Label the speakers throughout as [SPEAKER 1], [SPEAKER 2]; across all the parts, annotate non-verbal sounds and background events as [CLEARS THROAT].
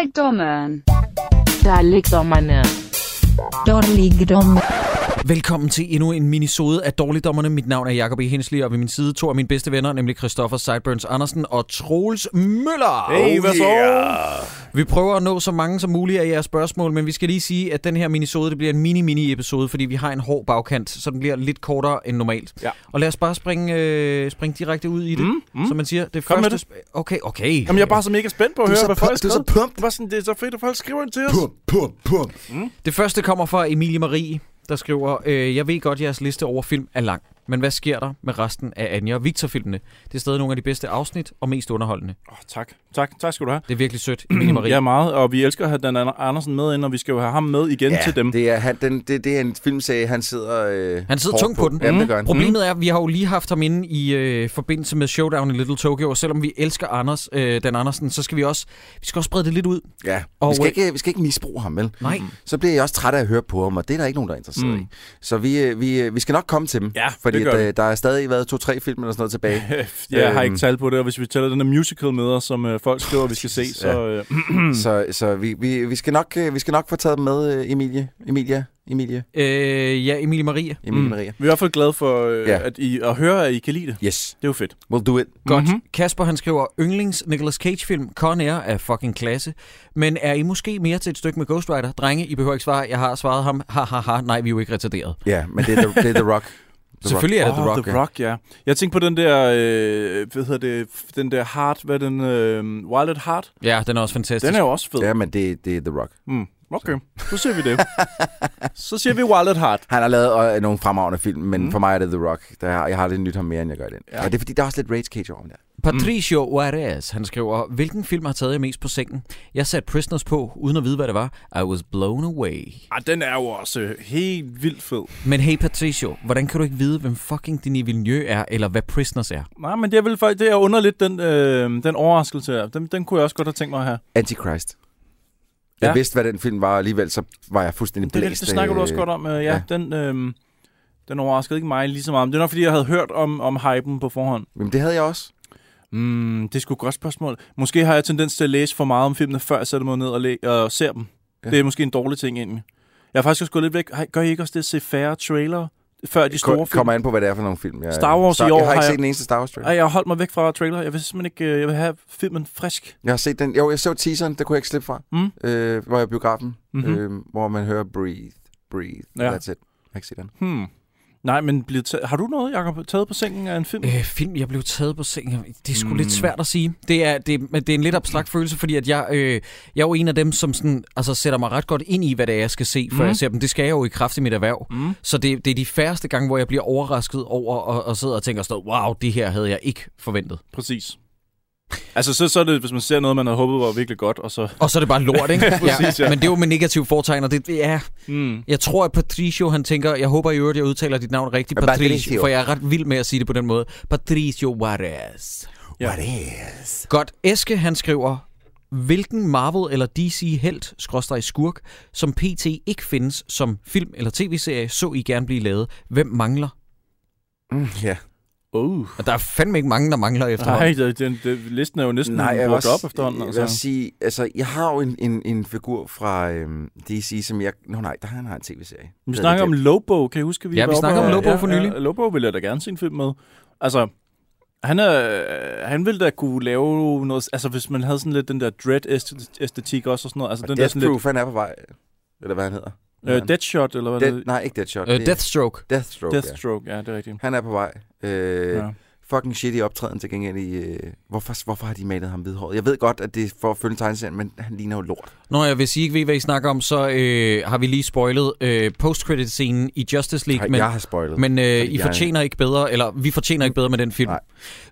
[SPEAKER 1] Dalekdommeren.
[SPEAKER 2] Der ligger dommerne.
[SPEAKER 3] Dårligdom.
[SPEAKER 4] Velkommen til endnu en minisode af Dårligdommerne. Mit navn er Jakob E. Hensley, og ved min side to af mine bedste venner, nemlig Christoffer Sideburns Andersen og Troels Møller.
[SPEAKER 5] Hey,
[SPEAKER 6] Oh,
[SPEAKER 5] hvad så?
[SPEAKER 4] Vi prøver at nå så mange som muligt af jeres spørgsmål, men vi skal lige sige, at den her minisode det bliver en mini-mini-episode, fordi vi har en hård bagkant, så den bliver lidt kortere end normalt.
[SPEAKER 5] Ja.
[SPEAKER 4] Og lad os bare springe, øh, springe direkte ud i det, mm, mm. som man siger. Det
[SPEAKER 5] Kom med
[SPEAKER 4] første sp- okay, okay.
[SPEAKER 5] Jamen, jeg er bare så mega spændt på at
[SPEAKER 6] Du er
[SPEAKER 5] høre,
[SPEAKER 6] så
[SPEAKER 5] hvad
[SPEAKER 6] pu-
[SPEAKER 5] folk
[SPEAKER 6] du er så
[SPEAKER 5] skriver.
[SPEAKER 6] pumped.
[SPEAKER 5] Det var sådan, det er så fedt, at folk skriver ind til os.
[SPEAKER 6] Pum, pum, pum.
[SPEAKER 4] Det første kommer fra Emilie Marie, der skriver, øh, jeg ved godt, jeres liste over film er lang, men hvad sker der med resten af Anja og Victor-filmene? Det er stadig nogle af de bedste afsnit og mest underholdende.
[SPEAKER 5] Oh, tak. Tak. Tak skal du have.
[SPEAKER 4] Det er virkelig sødt, Emilie
[SPEAKER 6] [CLEARS THROAT]
[SPEAKER 4] Marie.
[SPEAKER 5] Ja, meget. Og vi elsker at have Dan Andersen med ind, og vi skal jo have ham med igen
[SPEAKER 6] Ja,
[SPEAKER 5] til dem.
[SPEAKER 6] Det er, han, den, det, det er en filmserie, han sidder øh,
[SPEAKER 4] Han sidder
[SPEAKER 6] hårdt
[SPEAKER 4] tungt på den.
[SPEAKER 6] Jamen, det
[SPEAKER 5] Mm.
[SPEAKER 6] gør han.
[SPEAKER 4] Problemet er, at vi har jo lige haft ham inde i øh, forbindelse med Showdown i Little Tokyo, og selvom vi elsker Anders, øh, Dan Andersen, så skal vi også, vi skal også sprede det lidt ud.
[SPEAKER 6] Ja,
[SPEAKER 4] Og,
[SPEAKER 6] vi skal,
[SPEAKER 4] øh,
[SPEAKER 6] ikke, vi skal ikke misbruge ham, vel?
[SPEAKER 4] Nej.
[SPEAKER 6] Så bliver jeg også træt af at høre på ham, og det er der ikke nogen, der er interesseret mm. i. Så vi, øh, vi, øh, vi skal nok komme til dem,
[SPEAKER 5] Ja,
[SPEAKER 6] fordi
[SPEAKER 5] det gør
[SPEAKER 6] at,
[SPEAKER 5] vi.
[SPEAKER 6] øh, der er stadig været to-tre film eller sådan noget tilbage.
[SPEAKER 5] [LAUGHS] Jeg har
[SPEAKER 6] Øhm.
[SPEAKER 5] ikke tal på det, og hvis vi tæller den her musical med os, som øh, folk skriver, vi
[SPEAKER 6] [LAUGHS]
[SPEAKER 5] skal se,
[SPEAKER 6] Jesus,
[SPEAKER 5] så... Øh, [CLEARS THROAT]
[SPEAKER 6] så så vi, vi, vi, skal nok, øh, vi skal nok få taget dem med, øh, Emilie. Emilia. Emilie.
[SPEAKER 4] Øh, ja, Emilie Marie.
[SPEAKER 6] Emilie mm. Maria.
[SPEAKER 5] Vi er i hvert fald glade for øh,
[SPEAKER 6] Ja.
[SPEAKER 5] at, I, at høre, at I kan lide det.
[SPEAKER 6] Yes,
[SPEAKER 5] Det er jo fedt. Mhm.
[SPEAKER 6] we'll do it.
[SPEAKER 4] Godt. Mm-hmm. Kasper, han skriver, yndlings Nicolas Cage-film Con Air er fucking klasse, men er I måske mere til et stykke med Ghost Rider? Drenge, I behøver ikke svare. Jeg har svaret ham. Ha, ha, ha. Nej, vi er jo ikke retarderet.
[SPEAKER 6] Ja, yeah, men det er The, det er the Rock. The
[SPEAKER 4] Selvfølgelig er det The
[SPEAKER 5] Åh,
[SPEAKER 4] Rock.
[SPEAKER 5] The Rock, ja. Jeg tænkte på den der, øh, hvad hedder det, f- den der Heart, hvad er den, øh, Wild at Heart.
[SPEAKER 4] Ja, den er også fantastisk.
[SPEAKER 5] Den er jo også fed.
[SPEAKER 6] Rock. Ja, men det, det er The Rock.
[SPEAKER 5] Mm. Okay, så ser vi det. [LAUGHS] så ser vi Wild at Heart.
[SPEAKER 6] Han har lavet øh, nogle fremragende film, men
[SPEAKER 5] Mhm.
[SPEAKER 6] mm. for mig er det The Rock. Der, har- jeg har lidt nyt ham mere, end jeg gør den. Ja. Og det er fordi, der er også lidt Rage Cage over ham der.
[SPEAKER 4] Patricio Juarez, han skriver, hvilken film har taget jer mest på sengen? Jeg satte Prisoners på, uden at vide, hvad det var. I was blown away.
[SPEAKER 5] Ah, den er jo også øh, helt vildt fed.
[SPEAKER 4] Men hey Patricio, hvordan kan du ikke vide, hvem fucking Denis Villeneuve er, eller hvad Prisoners er?
[SPEAKER 5] Nej, men det er vel faktisk, det er underligt, den, øh, den overraskelse her. Den, den kunne jeg også godt have tænkt mig at have.
[SPEAKER 6] Antichrist. Jeg
[SPEAKER 5] Ja.
[SPEAKER 6] ja. vidste, hvad den film var, og alligevel så var jeg fuldstændig
[SPEAKER 5] Det, det, det
[SPEAKER 6] blæst.
[SPEAKER 5] snakker du også
[SPEAKER 6] øh,
[SPEAKER 5] godt om. Øh, ja, ja,
[SPEAKER 6] ja.
[SPEAKER 5] den... Øh, den overraskede ikke mig lige så meget. Men Det er nok, fordi jeg havde hørt om, om hypen på forhånd.
[SPEAKER 6] Jamen, det havde jeg også.
[SPEAKER 5] Mm, det er sgu et godt spørgsmål. Måske har jeg tendens til at læse for meget om filmene, før jeg sætter mig ned og, læ- og ser dem. Ja.
[SPEAKER 6] Ja.
[SPEAKER 5] Det er måske en dårlig ting egentlig. Jeg har faktisk også gået lidt væk. Ej, Gør I ikke også det at se færre trailer, før de store
[SPEAKER 6] Ko-
[SPEAKER 5] film?
[SPEAKER 6] kommer an på, hvad det er for nogle film. Jeg,
[SPEAKER 5] Star Wars i år
[SPEAKER 6] jeg har
[SPEAKER 5] har
[SPEAKER 6] ikke
[SPEAKER 5] jeg-
[SPEAKER 6] set den eneste Star Wars trailer.
[SPEAKER 5] Ej, jeg har holdt mig væk fra trailer. Jeg vil simpelthen ikke... øh, Jeg vil have filmen frisk.
[SPEAKER 6] Jeg har set den. Jo, jeg så teaseren, det kunne jeg ikke slippe fra.
[SPEAKER 5] Mm.
[SPEAKER 6] Øh, hvor jeg er i biografen,
[SPEAKER 5] Mhm.
[SPEAKER 6] mm-hmm. øh, hvor man hører Breathe, Breathe.
[SPEAKER 5] Ja.
[SPEAKER 6] Ja. That's it. Jeg har ikke set den.
[SPEAKER 5] Hmm. Nej, men bliver taget... har du noget, Jacob, taget på sengen af en film?
[SPEAKER 4] Øh, film, jeg blev taget på sengen. Det er sgu
[SPEAKER 5] Mm.
[SPEAKER 4] mm. lidt svært at sige. Det er, det, men det er en lidt abstrakt følelse, fordi at jeg, øh, jeg er jo en af dem, som sådan, altså, sætter mig ret godt ind i, hvad det er, jeg skal se, før
[SPEAKER 5] Mm.
[SPEAKER 4] jeg ser dem. Det skal jeg jo i kraft i mit erhverv.
[SPEAKER 5] Mm.
[SPEAKER 4] Så det, det er de færreste gange, hvor jeg bliver overrasket over og, og sidder og tænker sådan, noget, wow, det her havde jeg ikke forventet.
[SPEAKER 5] Præcis. Altså, så, så er det, hvis man ser noget, man havde håbet var virkelig godt, og så...
[SPEAKER 4] Og så er det bare lort, ikke?
[SPEAKER 5] Præcis, [LAUGHS] ja.
[SPEAKER 4] Men det er jo med negative foretegn, og det, det er...
[SPEAKER 5] Mm.
[SPEAKER 4] Jeg tror, at Patricio, han tænker... Jeg håber i øvrigt, jeg udtaler dit navn rigtigt, Patricio,
[SPEAKER 6] Patricio.
[SPEAKER 4] Patricio. For jeg er ret vild med at sige det på den måde. Patricio Juarez.
[SPEAKER 5] Ja.
[SPEAKER 6] What is?
[SPEAKER 4] Godt. Eske, han skriver... Hvilken Marvel eller DC held, skråstrej skurk, som PT ikke findes som film eller tv-serie, så I gerne blive lavet? Hvem mangler?
[SPEAKER 6] Mm, ja.
[SPEAKER 5] Oh.
[SPEAKER 4] Og der er fandme ikke mange, der mangler
[SPEAKER 5] Nej,
[SPEAKER 4] efterhånden.
[SPEAKER 5] det, det, det, listen er jo næsten
[SPEAKER 6] Nej,
[SPEAKER 5] Nej,
[SPEAKER 6] jeg vil
[SPEAKER 5] brugt
[SPEAKER 6] også,
[SPEAKER 5] op efterhånden.
[SPEAKER 6] Jeg vil også
[SPEAKER 5] Altså.
[SPEAKER 6] sige, altså, jeg har jo en, en, en figur fra øhm, DC, som jeg... Nå nej, der har han har en tv-serie.
[SPEAKER 5] Vi snakker om Lobo, kan I huske? Vi
[SPEAKER 4] Ja, vi
[SPEAKER 5] var oppe
[SPEAKER 4] snakker om
[SPEAKER 5] og-
[SPEAKER 4] Lobo for nylig.
[SPEAKER 5] Ja, Lobo ville jeg da gerne se en film med. Altså, han, er, han ville da kunne lave noget... Altså, hvis man havde sådan lidt den der dread-æstetik også og sådan noget. Altså, den
[SPEAKER 6] Den
[SPEAKER 5] der
[SPEAKER 6] Death
[SPEAKER 5] sådan
[SPEAKER 6] Proof, han er på vej. Eller hvad han hedder.
[SPEAKER 5] lidt... Øh, Deadshot, eller hvad
[SPEAKER 6] Death,
[SPEAKER 5] det
[SPEAKER 6] nej, ikke Deadshot.
[SPEAKER 4] Øh,
[SPEAKER 6] det er
[SPEAKER 4] Deathstroke.
[SPEAKER 6] Deathstroke, Deathstroke.
[SPEAKER 5] Deathstroke, ja, det er rigtigt.
[SPEAKER 6] Ja. Han er på vej. Øh,
[SPEAKER 5] Ja.
[SPEAKER 6] Fucking shitty optræden til gengæld i... Øh, hvorfor, hvorfor har de malet ham hvidhåret? Jeg ved godt, at det er for at følge tegneserien, men han ligner jo lort.
[SPEAKER 4] Nå ja, hvis I ikke ved, hvad I snakker om, så øh, har vi lige spoilet øh, post-credit-scenen i Justice League.
[SPEAKER 6] Ej,
[SPEAKER 4] men-
[SPEAKER 6] jeg har spoilet.
[SPEAKER 4] Men øh,
[SPEAKER 6] Fordi
[SPEAKER 4] I
[SPEAKER 6] jeg-
[SPEAKER 4] fortjener ikke bedre, eller vi fortjener ikke bedre med den film.
[SPEAKER 6] Nej.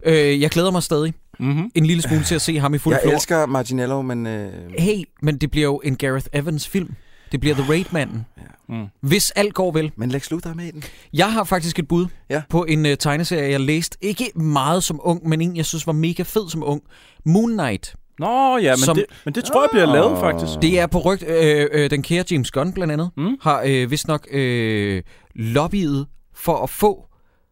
[SPEAKER 4] Øh, jeg glæder mig stadig
[SPEAKER 5] Mm-hmm.
[SPEAKER 4] en lille smule til at se ham i fuld
[SPEAKER 6] jeg
[SPEAKER 4] flor.
[SPEAKER 6] elsker Marginello, men... Øh,
[SPEAKER 4] Hey, men det bliver jo en Gareth Evans film. Det bliver The Raid-manden.
[SPEAKER 5] Ja. Mm.
[SPEAKER 4] Hvis alt går vel.
[SPEAKER 6] men Lex Luthor er med i den.
[SPEAKER 4] Jeg har faktisk et bud
[SPEAKER 6] Ja.
[SPEAKER 4] på en øh, tegneserie, jeg læste. Ikke meget som ung, men en, jeg synes var mega fed som ung. Moon Knight.
[SPEAKER 5] Nå, ja, men,
[SPEAKER 4] Som-
[SPEAKER 5] som... det, men det tror jeg bliver lavet, faktisk.
[SPEAKER 4] Det er på rygt. Øh, øh, den kære James Gunn blandt andet mm. har øh, vist nok øh, lobbyet for at få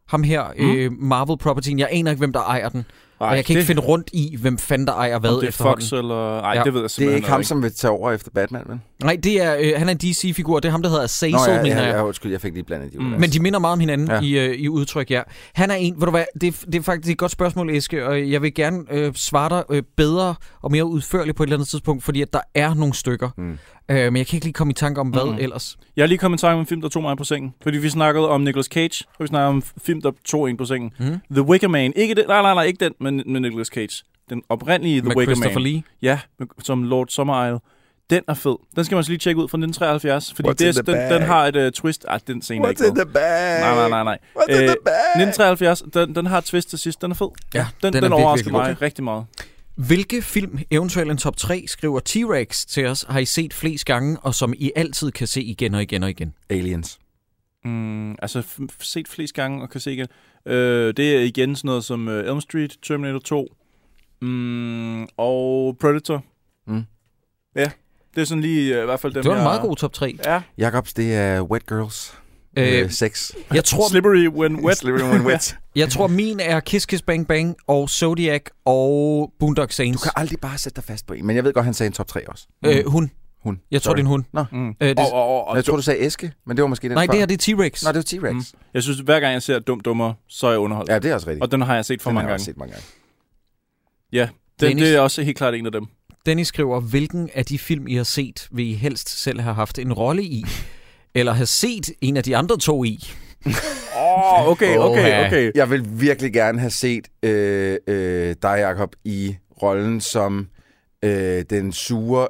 [SPEAKER 4] ham her, mm. øh, Marvel-propertyen. Jeg aner ikke, hvem der ejer den.
[SPEAKER 5] Ej,
[SPEAKER 4] og jeg kan
[SPEAKER 5] det,
[SPEAKER 4] ikke finde rundt i, hvem fanden der ejer
[SPEAKER 5] om
[SPEAKER 4] hvad
[SPEAKER 5] det er
[SPEAKER 4] efterhånden.
[SPEAKER 5] Fox eller... Ej,
[SPEAKER 4] Ja.
[SPEAKER 5] ja. det ved jeg
[SPEAKER 6] Det
[SPEAKER 5] simpelthen
[SPEAKER 6] er ikke ham,
[SPEAKER 5] ikke.
[SPEAKER 6] som vil tage over efter Batman, vel?
[SPEAKER 4] Nej, det er, øh, han er en DC-figur, det er ham, der hedder Azazel,
[SPEAKER 6] ja,
[SPEAKER 4] mener
[SPEAKER 6] ja,
[SPEAKER 4] jeg.
[SPEAKER 6] ja, undskyld, jeg fik lige blandet de
[SPEAKER 5] Mm.
[SPEAKER 6] mm.
[SPEAKER 4] Men de minder meget om hinanden ja.
[SPEAKER 6] Ja.
[SPEAKER 4] i, øh, i udtryk, ja. Han er en, ved du hvad, det, er- det er faktisk et godt spørgsmål, Eske, og jeg vil gerne øh, svare dig øh, bedre og mere udførligt på et eller andet tidspunkt, fordi at der er nogle stykker. Mm.
[SPEAKER 6] Mm.
[SPEAKER 4] Øh, men jeg kan ikke lige komme i tanke om, hvad mm.
[SPEAKER 5] Mm.
[SPEAKER 4] ellers.
[SPEAKER 5] Jeg er lige kommet i tanke om en film, der tog mig på sengen. Fordi vi snakkede om Nicolas Cage, og vi snakkede om en film, der tog en på sengen.
[SPEAKER 4] Mm.
[SPEAKER 5] The Wicker Man. Ikke det, nej, nej, nej, ikke den men, med Nicolas Cage. Den oprindelige The
[SPEAKER 4] Med
[SPEAKER 5] Wicker
[SPEAKER 4] Christopher
[SPEAKER 5] Man.
[SPEAKER 4] Lee.
[SPEAKER 5] Ja, med, som Lord Sommerisle. Den er fed. Den skal man så lige tjekke ud fra 1973, fordi
[SPEAKER 6] What's in
[SPEAKER 5] det,
[SPEAKER 6] the
[SPEAKER 5] den,
[SPEAKER 6] bag?
[SPEAKER 5] den har et uh, twist. Ej, den scene er ikke
[SPEAKER 6] What's in
[SPEAKER 5] med.
[SPEAKER 6] the bag?
[SPEAKER 5] Nej, nej, nej, nej.
[SPEAKER 6] What's in
[SPEAKER 5] Øh,
[SPEAKER 6] the bag?
[SPEAKER 5] 1973, den, den har et twist til sidst. Den er fed.
[SPEAKER 4] Ja,
[SPEAKER 5] Den,
[SPEAKER 4] er
[SPEAKER 5] den, den
[SPEAKER 4] virkelig,
[SPEAKER 5] overrasker
[SPEAKER 4] virkelig
[SPEAKER 5] mig
[SPEAKER 4] god.
[SPEAKER 5] rigtig meget.
[SPEAKER 4] Hvilke film, eventuelt en top 3, skriver T-Rex til os, har I set flest gange, og som I altid kan se igen og igen og igen?
[SPEAKER 6] Aliens.
[SPEAKER 5] Mm, altså f- f- set flest gange og kan se igen. Øh, det er igen sådan noget som øh, Elm Street, Terminator 2 mm, og Predator.
[SPEAKER 6] Mm.
[SPEAKER 5] Ja, det er sådan lige øh, i hvert fald dem,
[SPEAKER 4] Det var en
[SPEAKER 5] jeg-
[SPEAKER 4] meget god top 3.
[SPEAKER 5] Ja,
[SPEAKER 6] Jakobs, det er Wet Girls.
[SPEAKER 4] Øh,
[SPEAKER 6] Øh, sex.
[SPEAKER 4] jeg tror,
[SPEAKER 5] Slippery When
[SPEAKER 6] [LAUGHS]
[SPEAKER 5] Wet.
[SPEAKER 6] Slippery when wet.
[SPEAKER 4] Jeg tror, min er Kiss Kiss Bang Bang og Zodiac og Boondock
[SPEAKER 6] Du
[SPEAKER 4] Saints.
[SPEAKER 6] kan aldrig bare sætte dig fast på en. Men jeg ved godt, han sagde en top 3 også.
[SPEAKER 4] Øh, hun.
[SPEAKER 6] Hun.
[SPEAKER 4] Jeg tror,
[SPEAKER 6] Sorry.
[SPEAKER 4] det er en hund.
[SPEAKER 5] [LAUGHS] Mm.
[SPEAKER 4] Øh, det...
[SPEAKER 5] Og, og, og,
[SPEAKER 6] Og jeg tror, du sagde æske, men det var måske den
[SPEAKER 4] Nej,
[SPEAKER 6] før.
[SPEAKER 4] det her det er T-Rex.
[SPEAKER 6] Nå, det var T-Rex.
[SPEAKER 5] Mm. jeg synes, hver gang jeg ser Dum Dummer, så er jeg underholdt.
[SPEAKER 6] Ja, det er også rigtigt.
[SPEAKER 5] Og den har jeg set for
[SPEAKER 6] Den har
[SPEAKER 5] mange
[SPEAKER 6] jeg også
[SPEAKER 5] gange.
[SPEAKER 6] set mange gange.
[SPEAKER 5] Den,
[SPEAKER 4] Dennis.
[SPEAKER 5] det er også helt klart en af dem.
[SPEAKER 4] Dennis skriver, hvilken af de film, I har set, vil I helst selv have haft en rolle
[SPEAKER 6] [LAUGHS]
[SPEAKER 4] i? Eller have set en af de andre to i?
[SPEAKER 5] Åh, oh, okay,
[SPEAKER 4] Oha.
[SPEAKER 5] okay, okay.
[SPEAKER 6] Jeg vil virkelig gerne have set øh, øh, dig, Jacob, i rollen som øh, den sure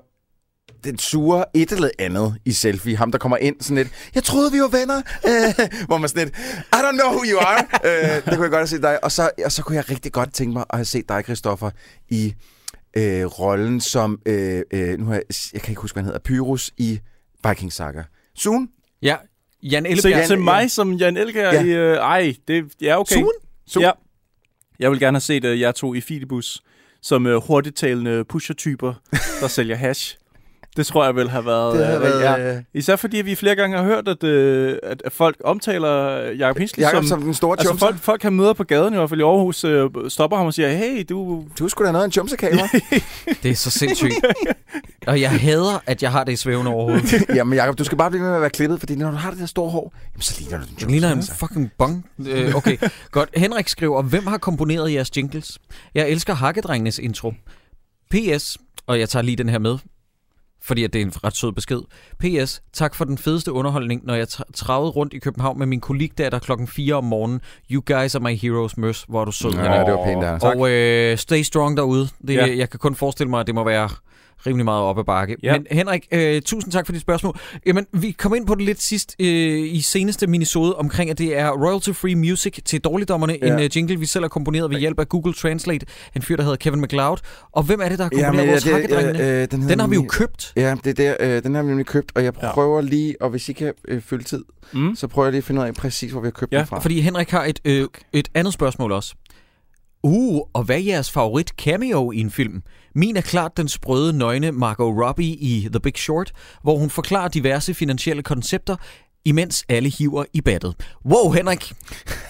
[SPEAKER 6] den sure et eller andet i selfie. Ham, der kommer ind sådan lidt, jeg troede, vi var venner. Øh, hvor man sådan lidt, I don't know who you are. øh, det kunne jeg godt have set dig. Og så, og så kunne jeg rigtig godt tænke mig at have set dig, Christoffer, i øh, rollen som, øh, øh, nu har jeg, jeg kan ikke huske, hvad han hedder, Pyrus i Viking Saga. Soon?
[SPEAKER 4] Ja, Jan
[SPEAKER 5] Se
[SPEAKER 4] Elleberg.
[SPEAKER 5] til
[SPEAKER 6] Jan-
[SPEAKER 5] mig som Jan Elkær
[SPEAKER 6] Ja.
[SPEAKER 5] i... Øh, ej, det ja, okay.
[SPEAKER 4] Suen?
[SPEAKER 6] Suen?
[SPEAKER 5] Ja. Jeg vil gerne have set uh, jer to i Filibus som uh, hurtigtalende pusher-typer, der [LAUGHS] sælger hash. Det tror jeg vil have været...
[SPEAKER 6] Det havde
[SPEAKER 5] øh,
[SPEAKER 6] været,
[SPEAKER 5] ja.
[SPEAKER 6] øh,
[SPEAKER 5] Især fordi vi flere gange har hørt, at, øh, at at folk omtaler Jacob Hinsley
[SPEAKER 6] Jacob
[SPEAKER 5] som...
[SPEAKER 6] som den store
[SPEAKER 5] altså
[SPEAKER 6] chumser.
[SPEAKER 5] folk, folk kan møde på gaden i hvert fald i Aarhus, øh, stopper ham og siger, hey, du...
[SPEAKER 6] Du skulle da noget af en chumserkamera.
[SPEAKER 4] Det er så
[SPEAKER 5] [LAUGHS]
[SPEAKER 4] sindssygt. og jeg hader, at jeg har det i svævende overhovedet.
[SPEAKER 6] Jamen Jacob, du skal bare blive ved med at være klippet, fordi når du har det der store hår, jamen, så ligner du den
[SPEAKER 4] Det ligner en
[SPEAKER 6] Johnson,
[SPEAKER 4] fucking bong. Øh, okay, godt. Henrik skriver, hvem har komponeret jeres jingles? Jeg elsker Hakkedrengenes intro. P.S. Og jeg tager lige den her med, fordi at det er en ret sød besked. P.S. Tak for den fedeste underholdning, når jeg tra- travede rundt i København med min kollegdatter klokken 4 om morgenen. You guys are my heroes, Mørs. Hvor er du sød,
[SPEAKER 6] altså.
[SPEAKER 4] Henrik.
[SPEAKER 6] Ja, det var pænt der.
[SPEAKER 4] Og øh, stay strong derude. Det, ja.
[SPEAKER 5] Ja.
[SPEAKER 4] Jeg kan kun forestille mig, at det må være rimelig meget op ad bakke. Ja.
[SPEAKER 5] Ja.
[SPEAKER 4] Men Henrik, øh, tusind tak for dit spørgsmål. Jamen, vi kom ind på det lidt sidst øh, i seneste minisode omkring, at det er royalty-free music til dårligdommerne. Ja.
[SPEAKER 5] Ja.
[SPEAKER 4] En øh, jingle, vi selv har komponeret ved hjælp af Google Translate. En fyr, der hedder Kevin McLeod. Og hvem er det, der har komponeret
[SPEAKER 6] Jamen,
[SPEAKER 4] ja, vores
[SPEAKER 6] det,
[SPEAKER 4] hakkedrengene?
[SPEAKER 6] øh, øh, den, hedder
[SPEAKER 4] Den har vi jo
[SPEAKER 6] nemlig-
[SPEAKER 4] købt.
[SPEAKER 6] Ja, det er der, øh, den har vi nemlig købt, og jeg
[SPEAKER 5] Ja.
[SPEAKER 6] prøver lige, og hvis I kan øh, følge tid,
[SPEAKER 5] Mm.
[SPEAKER 6] så prøver jeg lige at finde ud af præcis, hvor vi har købt
[SPEAKER 5] Ja,
[SPEAKER 6] den fra.
[SPEAKER 4] Fordi Henrik har et, øh, et andet spørgsmål også. Uh, og hvad er jeres favorit cameo i en film? Min er klart den sprøde, nøgne Margot Robbie i The Big Short, hvor hun forklarer diverse finansielle koncepter, imens alle hiver i battet. Wow, Henrik!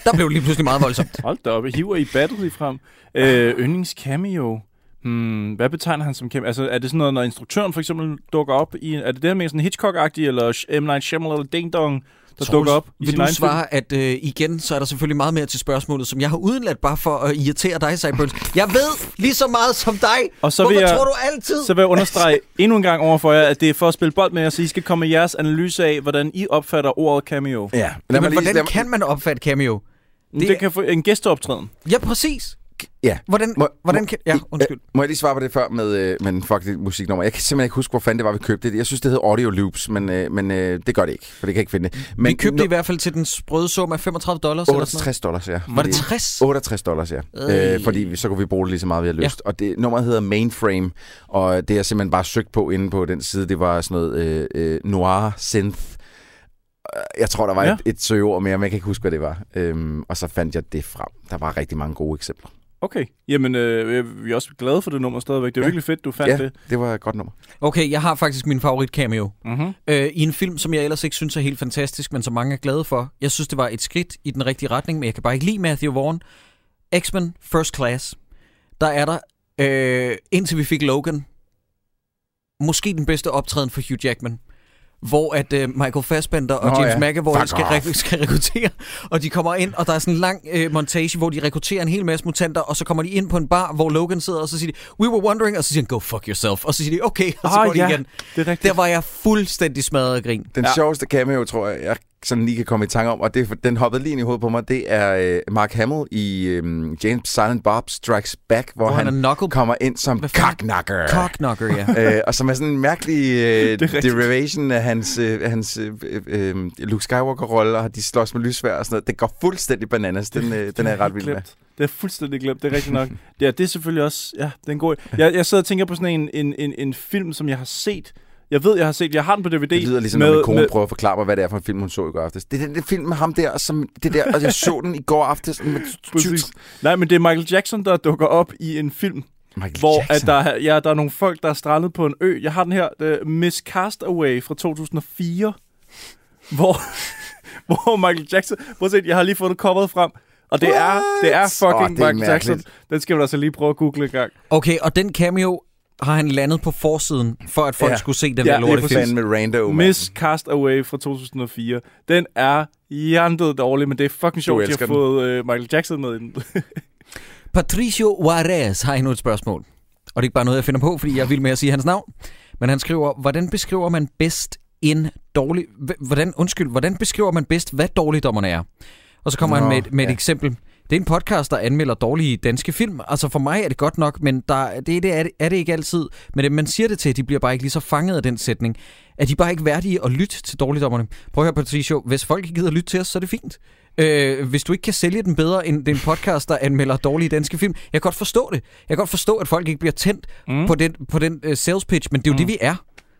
[SPEAKER 4] Der blev det lige pludselig meget voldsomt.
[SPEAKER 5] Hold da op, hiver I battle i frem. Øh, yndlings cameo. Hmm, hvad betegner han som cameo? Altså, er det sådan noget, når instruktøren for eksempel dukker op i... Er det det her med sådan Hitchcock-agtig, eller M. Night Shyamalan, eller Ding Dong, [LAUGHS] der
[SPEAKER 4] Troels,
[SPEAKER 5] dukker op i
[SPEAKER 4] Vil
[SPEAKER 5] sin
[SPEAKER 4] du
[SPEAKER 5] egen film?
[SPEAKER 4] svare, at øh, igen, så er der selvfølgelig meget mere til spørgsmålet, som jeg har udenladt bare for at irritere dig, Cyburns. Jeg ved lige så meget som dig!
[SPEAKER 5] Og så vil
[SPEAKER 4] Hvorfor
[SPEAKER 5] jeg-
[SPEAKER 4] tror du altid?
[SPEAKER 5] Så vil jeg understrege endnu en gang over for jer, at det er for at spille bold med jer, så I skal komme med jeres analyse af, hvordan I opfatter ordet cameo.
[SPEAKER 6] Ja, lad mig
[SPEAKER 4] Jamen,
[SPEAKER 6] lige-
[SPEAKER 4] hvordan
[SPEAKER 6] lad mig-
[SPEAKER 4] kan man opfatte cameo?
[SPEAKER 5] Det, det kan få en gæsteoptræden.
[SPEAKER 4] Ja, præcis.
[SPEAKER 6] Ja.
[SPEAKER 4] Hvordan,
[SPEAKER 6] Må-
[SPEAKER 4] hvordan
[SPEAKER 6] må-
[SPEAKER 4] kan... Ja,
[SPEAKER 6] I-
[SPEAKER 4] undskyld.
[SPEAKER 6] Øh, må jeg lige svare på det før med, øh, men fuck det musiknummer. Jeg kan simpelthen ikke huske, hvor fanden det var, vi købte det. Jeg synes, det hed Audio Loops, men, øh, men øh, det gør det ikke, for det kan jeg ikke finde det. Men
[SPEAKER 4] Vi købte det
[SPEAKER 6] nu-
[SPEAKER 4] i hvert fald til den sprøde sum af 35 dollars. eller sådan
[SPEAKER 6] 68 dollars, ja.
[SPEAKER 4] noget. Var det
[SPEAKER 6] Fordi-
[SPEAKER 4] 60?
[SPEAKER 6] 68 dollars, ja.
[SPEAKER 4] Øj.
[SPEAKER 6] Øh, fordi vi- så kunne vi bruge det lige så meget, vi havde lyst. Ja. Og det, nummeret hedder Mainframe, og det jeg simpelthen bare søgt på inde på den side, det var sådan noget øh, øh, noir synth. Øh, Jeg tror, der var ja.
[SPEAKER 5] Ja.
[SPEAKER 6] et, et søgeord mere, men jeg kan ikke huske, hvad det var. Øhm, og så fandt jeg det frem. Der var rigtig mange gode eksempler.
[SPEAKER 5] Okay. Jamen, øh, vi er også glade for det nummer stadigvæk. Det er
[SPEAKER 6] Ja.
[SPEAKER 5] ja. virkelig fedt, du fandt
[SPEAKER 6] ja,
[SPEAKER 5] det.
[SPEAKER 6] det var et godt nummer.
[SPEAKER 4] Okay, jeg har faktisk min favorit cameo.
[SPEAKER 5] Mm-hmm.
[SPEAKER 4] Øh, I en film, som jeg ellers ikke synes er helt fantastisk, men som mange er glade for. Jeg synes, det var et skridt i den rigtige retning, men jeg kan bare ikke lide Matthew Vaughn. X-Men First Class. der er der, øh, indtil vi fik Logan, måske den bedste optræden for Hugh Jackman, hvor at øh, Michael Fassbender og
[SPEAKER 6] Nå
[SPEAKER 4] James
[SPEAKER 6] ja,
[SPEAKER 4] McAvoy
[SPEAKER 6] fuck
[SPEAKER 4] skal,
[SPEAKER 6] off.
[SPEAKER 4] re- skal rekruttere, og de kommer ind, og der er sådan en lang øh, montage, hvor de rekrutterer en hel masse mutanter, og så kommer de ind på en bar, hvor Logan sidder, og så siger de, we were wondering, og så siger han, go fuck yourself, og så siger de, okay, og så
[SPEAKER 5] Ah,
[SPEAKER 4] går de
[SPEAKER 5] ja.
[SPEAKER 4] igen.
[SPEAKER 5] Det er rigtigt.
[SPEAKER 4] Der var jeg fuldstændig smadret af grin.
[SPEAKER 6] Den
[SPEAKER 5] Ja.
[SPEAKER 6] ja. sjoveste cameo, tror jeg, jeg sådan lige kan komme i tanke om, og det, er for- den hoppede lige ind i hovedet på mig, det er øh, Mark Hamill i øh, James Silent Bob Strikes Back, hvor,
[SPEAKER 4] Hvor han
[SPEAKER 6] han,
[SPEAKER 4] er knuckle-
[SPEAKER 6] kommer ind som
[SPEAKER 4] Hvad fanden?
[SPEAKER 6] cocknocker.
[SPEAKER 4] Cocknocker, ja.
[SPEAKER 6] øh, og som er sådan en mærkelig
[SPEAKER 5] [LAUGHS]
[SPEAKER 6] øh,
[SPEAKER 5] er rigtigt.
[SPEAKER 6] derivation af hans, øh, af hans øh, øh, Luke Skywalker-rolle, og de slås med lysvær og sådan noget. Det går fuldstændig bananas. Den, øh, den er jeg ret vild med.
[SPEAKER 5] glemt. Det er fuldstændig glemt, det er rigtigt nok. ja, det er selvfølgelig også, ja, det er en god... Jeg, jeg sidder og tænker på sådan en, en, en, en film, som jeg har set. Jeg ved, jeg har set, jeg har den på DVD.
[SPEAKER 6] Det lyder ligesom, når min kone prøver at forklare mig, hvad det er for en film, hun så i går aftes. Det er den der film med ham der, som det der, og jeg så den i går aftes.
[SPEAKER 5] [LAUGHS]
[SPEAKER 6] Med
[SPEAKER 5] Præcis. Nej, men det er Michael Jackson, der dukker op i en film,
[SPEAKER 6] Michael
[SPEAKER 5] hvor at
[SPEAKER 6] Jackson.
[SPEAKER 5] der, er- ja, der er nogle folk, der er strandet på en ø. Jeg har den her, uh, Miss Castaway fra 2004, hvor, [LAUGHS] hvor Michael Jackson... Prøv at se, jeg har lige fået coveret frem. Og det er, det er
[SPEAKER 6] What?
[SPEAKER 5] fucking
[SPEAKER 6] Åh,
[SPEAKER 5] oh,
[SPEAKER 6] det er
[SPEAKER 5] Michael Jackson.
[SPEAKER 6] mærkeligt.
[SPEAKER 5] Den skal man altså lige prøve at google en gang.
[SPEAKER 4] Okay, og den cameo har han landet på forsiden, for at folk ja.
[SPEAKER 6] Ja.
[SPEAKER 4] skulle se den
[SPEAKER 5] Ja,
[SPEAKER 4] ja,
[SPEAKER 5] det er
[SPEAKER 4] lorte
[SPEAKER 5] præcis.
[SPEAKER 4] film.
[SPEAKER 6] Fandme rando, mand.
[SPEAKER 5] Miss Castaway fra 2004. Den er jantet dårlig, men det er fucking sjovt, at de
[SPEAKER 6] elsker
[SPEAKER 5] har
[SPEAKER 6] den.
[SPEAKER 5] fået øh, Michael Jackson med i den. [LAUGHS]
[SPEAKER 4] Patricio Juarez har endnu et spørgsmål. Og det er ikke bare noget, jeg finder på, fordi jeg vil med at sige hans navn. Men han skriver, hvordan beskriver man bedst en dårlig... hv- Hvordan, undskyld, hvordan beskriver man bedst, hvad dårligdommerne er? Og så kommer Nå,
[SPEAKER 6] Nå,
[SPEAKER 4] han med, et- med et
[SPEAKER 6] ja.
[SPEAKER 4] eksempel. Det er en podcast, der anmelder dårlige danske film. Altså for mig er det godt nok, men der, det, det er, det- er det ikke altid. Men det, man siger det til, de bliver bare ikke lige så fanget af den sætning. Er de bare ikke værdige at lytte til dårligdommerne? Prøv at høre, Patricio. Hvis folk ikke gider at lytte til os, så er det fint. Øh, hvis du ikke kan sælge den bedre end den podcast, der anmelder dårlige danske film. Jeg kan godt forstå det. Jeg kan godt forstå, at folk ikke bliver tændt mm. på den, på den uh, sales pitch, men det er jo mm. det, vi er.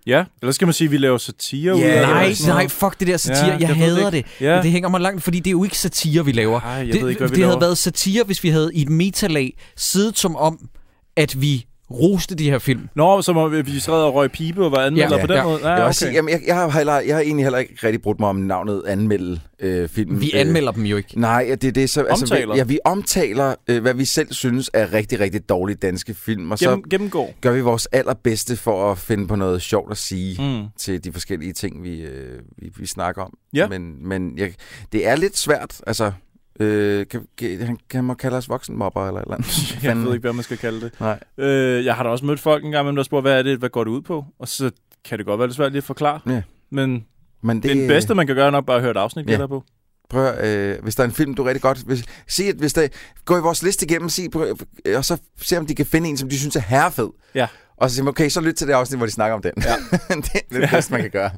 [SPEAKER 5] ja, eller skal man sige, at vi laver satire ud
[SPEAKER 6] Ja,
[SPEAKER 5] af det,
[SPEAKER 4] Nej,
[SPEAKER 5] eller sådan
[SPEAKER 4] nej,
[SPEAKER 5] noget?
[SPEAKER 4] fuck det der satire. Ja,
[SPEAKER 5] Ja,
[SPEAKER 4] jeg,
[SPEAKER 5] jeg ved
[SPEAKER 4] hader
[SPEAKER 5] det ikke.
[SPEAKER 4] det.
[SPEAKER 5] Ja.
[SPEAKER 4] Ja. Det hænger mig langt, fordi det er jo ikke satire, vi laver.
[SPEAKER 5] Ej, jeg
[SPEAKER 4] det
[SPEAKER 5] ved ikke, hvad vi
[SPEAKER 4] det havde
[SPEAKER 5] laver.
[SPEAKER 4] været satire, hvis vi havde i et metalag siddet som om, at vi roste de her film.
[SPEAKER 5] Nå, som om øh, vi sad og røg pibe og var anmelder
[SPEAKER 4] Ja,
[SPEAKER 5] på den
[SPEAKER 4] ja.
[SPEAKER 5] måde.
[SPEAKER 6] Jeg,
[SPEAKER 5] Ah,
[SPEAKER 6] vil
[SPEAKER 5] okay.
[SPEAKER 6] også sige, jamen, jeg, jeg, har heller, jeg har egentlig heller ikke rigtig brugt mig om navnet anmelde øh, filmen.
[SPEAKER 4] Vi anmelder dem jo ikke.
[SPEAKER 6] Øh, nej, ja, det er det. Så,
[SPEAKER 5] Omtaler.
[SPEAKER 6] vi, ja, vi omtaler, øh, hvad vi selv synes er rigtig, rigtig dårlige danske film, og så
[SPEAKER 5] Gennem, gennemgå.
[SPEAKER 6] gør vi vores allerbedste for at finde på noget sjovt at sige
[SPEAKER 5] Mm.
[SPEAKER 6] til de forskellige ting, vi, øh, vi, vi snakker om.
[SPEAKER 5] Ja.
[SPEAKER 6] Men, men jeg, det er lidt svært, altså... Øh, kan, kan, han, kan han må kalde os voksenmobber eller et eller
[SPEAKER 5] [LAUGHS]
[SPEAKER 6] andet.
[SPEAKER 5] Jeg
[SPEAKER 6] Fanden.
[SPEAKER 5] ved ikke, hvad man skal kalde det.
[SPEAKER 6] Nej.
[SPEAKER 5] Øh, jeg har da også mødt folk engang, hvem der spurgte, hvad er det, hvad går det ud på? Og så kan det godt være lidt svært lige at forklare.
[SPEAKER 6] Ja.
[SPEAKER 5] Men
[SPEAKER 6] Men
[SPEAKER 5] det...
[SPEAKER 6] det,
[SPEAKER 5] den bedste, man kan gøre, er nok bare at høre et afsnit,
[SPEAKER 6] Ja.
[SPEAKER 5] ja. der på.
[SPEAKER 6] prøv at, høre, øh, hvis der er en film, du rigtig godt vil sige, at hvis der, gå i vores liste igennem, sig, prøv, øh, og så se, om de kan finde en, som de synes er herrefed.
[SPEAKER 5] Ja.
[SPEAKER 6] Og så siger man, okay, så lyt til det afsnit, hvor de snakker om den. Ja. [LAUGHS] det er det bedste, man kan gøre.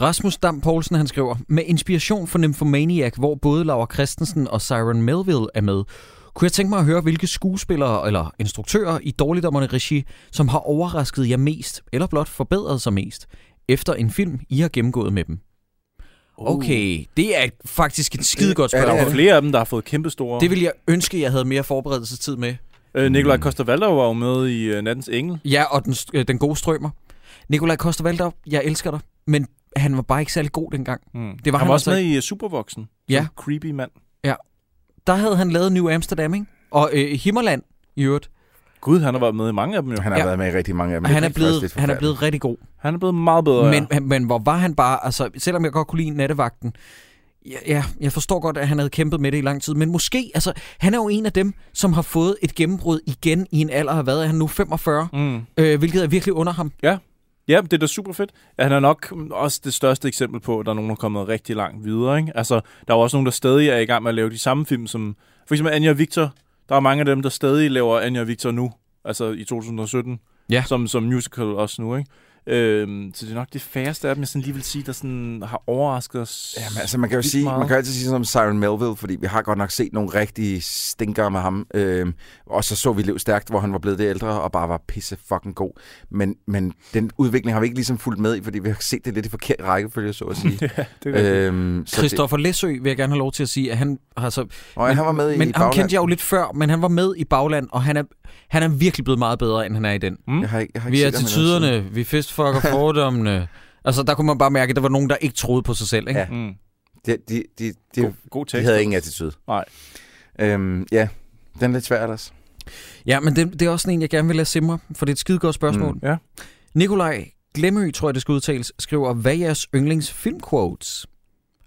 [SPEAKER 4] Rasmus Dam Poulsen, han skriver, med inspiration fra Nymphomaniac, hvor både Laura Christensen og Siren Melville er med, kunne jeg tænke mig at høre, hvilke skuespillere eller instruktører i dårligdommerne regi, som har overrasket jer mest, eller blot forbedret sig mest, efter en film, I har gennemgået med dem? [LAUGHS] Okay, det er faktisk et skidegodt
[SPEAKER 6] Ja, det er
[SPEAKER 5] Der
[SPEAKER 4] spørgsmål.
[SPEAKER 5] er flere af dem, der har fået kæmpe store.
[SPEAKER 4] Det ville jeg ønske, jeg havde mere forberedelsestid med.
[SPEAKER 5] Øh, Nikolaj Koster-Valder var jo med i øh, Nattens Engel.
[SPEAKER 4] Ja, og den, st- øh, den gode strømmer. Nikolaj Koster jeg elsker dig, men han var bare ikke særlig god dengang.
[SPEAKER 5] Mm.
[SPEAKER 4] Det var
[SPEAKER 5] han
[SPEAKER 4] han
[SPEAKER 5] var
[SPEAKER 4] altså
[SPEAKER 5] også med i øh, Supervoksen.
[SPEAKER 4] Ja.
[SPEAKER 5] Som creepy mand.
[SPEAKER 4] Der havde han lavet New Amsterdam, ikke? Og øh, Himmerland, i øvrigt.
[SPEAKER 5] Gud, han har været med i mange af dem jo.
[SPEAKER 6] Han har
[SPEAKER 4] Ja.
[SPEAKER 6] ja. været med i rigtig mange af dem.
[SPEAKER 4] Han er,
[SPEAKER 6] Det faktisk
[SPEAKER 4] blevet,
[SPEAKER 6] lidt
[SPEAKER 4] han er blevet rigtig god.
[SPEAKER 5] Han er blevet meget bedre.
[SPEAKER 4] Men, han- men hvor var han bare... Altså, selvom jeg godt kunne lide nattevagten, ja, ja, jeg forstår godt, at han havde kæmpet med det i lang tid, men måske, altså, han er jo en af dem, som har fået et gennembrud igen i en alder af, hvad er han nu, 45,
[SPEAKER 5] Mm.
[SPEAKER 4] øh, hvilket er virkelig under ham.
[SPEAKER 5] Ja, det er da super fedt. Ja, Han er nok også det største eksempel på, at der er nogen, der er kommet rigtig langt videre. Ikke? Altså, der er jo også nogen, der stadig er i gang med at lave de samme film, som for eksempel Anja og Victor. Der er mange af dem, der stadig laver Anja og Victor nu, altså i 2017,
[SPEAKER 4] Ja.
[SPEAKER 5] som, som musical også nu. Ikke? Øhm, så det er nok det færreste af dem, jeg sådan lige vil sige, der sådan har overrasket os.
[SPEAKER 6] Jamen, altså, man kan jo
[SPEAKER 5] vildt
[SPEAKER 6] sige,
[SPEAKER 5] meget. [LAUGHS]
[SPEAKER 6] man kan altid sige sådan om Siren Melville, fordi vi har godt nok set nogle rigtige stinker med ham. Øhm, og så så vi Lev Stærkt, hvor han var blevet det ældre og bare var pisse fucking god. Men, men den udvikling har vi ikke ligesom fulgt med i, fordi vi har set det lidt i forkert rækkefølge, så at sige.
[SPEAKER 5] det er rigtigt.
[SPEAKER 6] øhm, så
[SPEAKER 4] Christoffer Læsø vil jeg gerne have lov til at sige, at han har så
[SPEAKER 6] Det, og han var med i
[SPEAKER 4] Men ham
[SPEAKER 6] Bagland.
[SPEAKER 4] kendte jeg jo lidt før, men han var med i Bagland, og han er, han er virkelig blevet meget bedre, end han er i den.
[SPEAKER 5] Mm.
[SPEAKER 6] Jeg har ikke, jeg har ikke
[SPEAKER 4] Vi er
[SPEAKER 6] set ham altså- i
[SPEAKER 4] til
[SPEAKER 6] noget tid.
[SPEAKER 4] tiderne, vi fistfucker fordommene. Altså, der kunne man bare mærke, at der var nogen, der ikke troede på sig selv, ikke? Ja.
[SPEAKER 6] Ja.
[SPEAKER 5] Mm.
[SPEAKER 6] De, de, de, de,
[SPEAKER 5] God, god
[SPEAKER 6] de
[SPEAKER 5] tekst.
[SPEAKER 6] havde ingen attitude.
[SPEAKER 5] Nej.
[SPEAKER 6] Øhm, ja, den er lidt svær ellers.
[SPEAKER 4] Ja, men det, det er også sådan en, jeg gerne vil lade simre, for det er et skide godt spørgsmål.
[SPEAKER 6] Mm.
[SPEAKER 5] Ja.
[SPEAKER 4] Nikolaj Glemmø, tror jeg, det skal udtales, skriver, hvad er jeres yndlingsfilmquotes?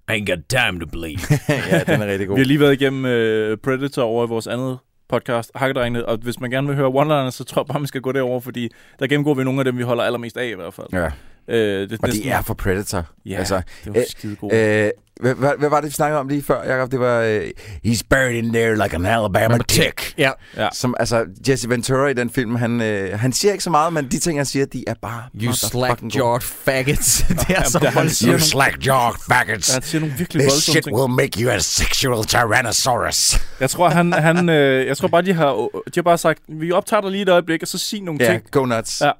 [SPEAKER 4] I ain't got time to bleed.
[SPEAKER 6] [LAUGHS] ja, den er rigtig god. [LAUGHS]
[SPEAKER 5] Vi har lige været igennem øh, Predator over i vores andet podcast, Hakkedrengene, og hvis man gerne vil høre one-liners, så tror jeg bare, man skal gå derover, fordi der gennemgår vi nogle af dem, vi holder allermest af i hvert fald.
[SPEAKER 6] Ja.
[SPEAKER 5] Øh, det,
[SPEAKER 6] Og de er for Predator.
[SPEAKER 5] Ja,
[SPEAKER 6] altså,
[SPEAKER 5] det var
[SPEAKER 6] øh,
[SPEAKER 5] skide godt.
[SPEAKER 6] Øh, hvad, hvad, hvad var det, vi snakkede om lige før, Jacob? Det var, øh, he's buried in there like an Alabama tick.
[SPEAKER 4] ja.
[SPEAKER 5] Ja.
[SPEAKER 6] Som, altså, Jesse Ventura i den film, han, øh, han siger ikke så meget, men de ting, han siger, de er bare
[SPEAKER 4] You slack-jawed faggots. [LAUGHS] det er så
[SPEAKER 5] der har-
[SPEAKER 4] voldsomt.
[SPEAKER 6] You slack-jawed faggots.
[SPEAKER 5] Han siger nogle virkelig
[SPEAKER 6] This
[SPEAKER 5] voldsomme
[SPEAKER 6] øh, shit
[SPEAKER 5] ting.
[SPEAKER 6] will make you a sexual tyrannosaurus.
[SPEAKER 5] Jeg tror, han, han, øh, jeg tror bare, de har, de har bare sagt, vi optager dig lige et øjeblik, og så sig nogle
[SPEAKER 6] Ja,
[SPEAKER 5] ting.
[SPEAKER 6] go nuts.
[SPEAKER 5] Ja.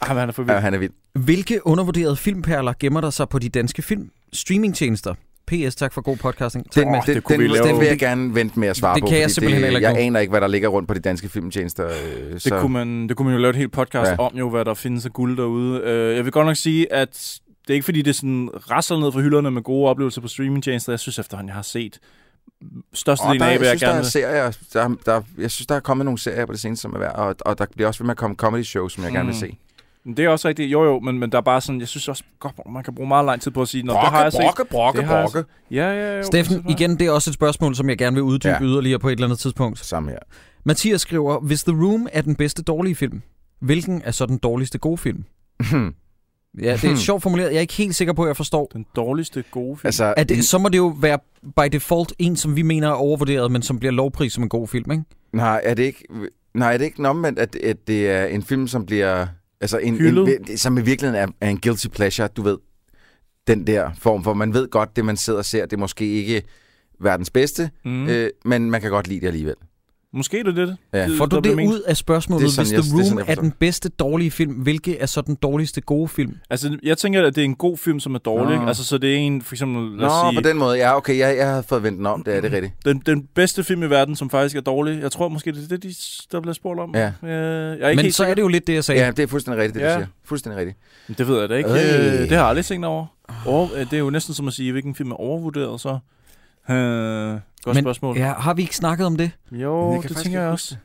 [SPEAKER 5] Ah, men han er for
[SPEAKER 6] Ja,
[SPEAKER 5] vild.
[SPEAKER 6] han er vild.
[SPEAKER 4] Hvilke undervurderede filmperler gemmer der sig på de danske film? Streamingtjenester. PS, tak for god podcasting. Tak,
[SPEAKER 6] Den,
[SPEAKER 4] oh,
[SPEAKER 6] den,
[SPEAKER 5] det kunne
[SPEAKER 6] den,
[SPEAKER 5] vi lave.
[SPEAKER 6] den vil jeg gerne vente med at svare
[SPEAKER 4] Det
[SPEAKER 6] på.
[SPEAKER 4] kan jeg
[SPEAKER 6] fordi
[SPEAKER 4] simpelthen heller ikke
[SPEAKER 6] Jeg
[SPEAKER 4] nå.
[SPEAKER 6] aner ikke, hvad der ligger rundt på de danske filmtjenester. Øh,
[SPEAKER 5] Det
[SPEAKER 6] så.
[SPEAKER 5] kunne, man, det kunne man jo lave et helt podcast
[SPEAKER 6] Ja.
[SPEAKER 5] ja. om, jo, hvad der findes af guld derude. Øh, jeg vil godt nok sige, at det er ikke fordi, det sådan rasler ned fra hylderne med gode oplevelser på streamingtjenester. Jeg synes efterhånden, jeg har set
[SPEAKER 6] Og
[SPEAKER 5] størstedelen
[SPEAKER 6] der,
[SPEAKER 5] af,
[SPEAKER 6] jeg,
[SPEAKER 5] hvad jeg
[SPEAKER 6] synes, der
[SPEAKER 5] gerne
[SPEAKER 6] er
[SPEAKER 5] vil.
[SPEAKER 6] serier, der, der, jeg synes, der er kommet nogle serier på det seneste, som er værd, og, og der bliver også ved med at komme comedy shows, som jeg gerne vil
[SPEAKER 5] Mm.
[SPEAKER 6] se.
[SPEAKER 5] Men Det er også rigtigt. Jo, jo, men, men der er bare sådan, jeg synes også, godt, man kan bruge meget lang tid på at sige, Nå, det har jeg set.
[SPEAKER 6] brokke,
[SPEAKER 5] Det har jeg Ja, ja, ja.
[SPEAKER 4] Steffen, igen, det er også et spørgsmål, som jeg gerne vil uddybe
[SPEAKER 6] Ja.
[SPEAKER 4] ja. yderligere på et eller andet tidspunkt.
[SPEAKER 6] Samme her. [LAUGHS]
[SPEAKER 4] Mathias skriver, hvis The Room er den bedste dårlige film, hvilken er så den dårligste gode film? Ja, det er
[SPEAKER 6] Hmm.
[SPEAKER 4] sjovt formuleret. Jeg er ikke helt sikker på, at jeg forstår.
[SPEAKER 5] Den dårligste gode film. Altså,
[SPEAKER 6] altså,
[SPEAKER 4] Er det, så må det jo være by default en, som vi mener er overvurderet, men som bliver lovpris som en god film, ikke?
[SPEAKER 6] nej, er det ikke, nej, er det ikke en omvendt, at, at det er en film, som bliver... Altså en,
[SPEAKER 5] Hyldet.
[SPEAKER 6] en, som i virkeligheden er, er en guilty pleasure, du ved. Den der form, for man ved godt, det man sidder og ser, det er måske ikke verdens bedste,
[SPEAKER 5] mm.
[SPEAKER 6] mm. øh, men man kan godt lide det alligevel.
[SPEAKER 5] Måske er det det.
[SPEAKER 6] Ja.
[SPEAKER 4] Får du det
[SPEAKER 5] der bliver ment.
[SPEAKER 4] ud af spørgsmålet,
[SPEAKER 6] Det er sådan,
[SPEAKER 4] hvis
[SPEAKER 6] jeg-
[SPEAKER 4] The
[SPEAKER 6] det er
[SPEAKER 4] Room
[SPEAKER 6] sådan,
[SPEAKER 4] er,
[SPEAKER 6] jeg
[SPEAKER 4] den bedste dårlige film, hvilke er så den dårligste gode film?
[SPEAKER 5] Altså, jeg tænker, at det er en god film, som er dårlig.
[SPEAKER 6] Nå.
[SPEAKER 5] ikke? Altså, så det er en, for eksempel, lad
[SPEAKER 6] Nå,
[SPEAKER 5] os sige, Mm.
[SPEAKER 6] på den måde. Ja, okay, jeg, jeg havde fået vendt den om, det er det er rigtigt.
[SPEAKER 5] den, den bedste film i verden, som faktisk er dårlig. Jeg tror måske, det er det, de, der bliver spurgt om.
[SPEAKER 6] Ja.
[SPEAKER 5] Øh, jeg er ikke
[SPEAKER 4] Men
[SPEAKER 5] helt
[SPEAKER 4] så er det jo lidt det, jeg sagde.
[SPEAKER 6] Ja, det er fuldstændig rigtigt, det du
[SPEAKER 5] Ja.
[SPEAKER 6] siger. Fuldstændig rigtigt.
[SPEAKER 5] sikker. Det ved jeg da ikke.
[SPEAKER 6] Øh.
[SPEAKER 5] Øh. Det har jeg aldrig tænkt over. Over, øh, det er jo næsten som at sige, hvilken film er overvurderet, så... Øh, godt men,
[SPEAKER 4] Men-
[SPEAKER 5] spørgsmål. Ja.
[SPEAKER 4] Ja, har vi ikke snakket om det?
[SPEAKER 5] Jo,
[SPEAKER 6] Jeg kan
[SPEAKER 5] det
[SPEAKER 6] faktisk
[SPEAKER 5] tænker
[SPEAKER 6] ikke
[SPEAKER 5] jeg
[SPEAKER 6] huske
[SPEAKER 5] også.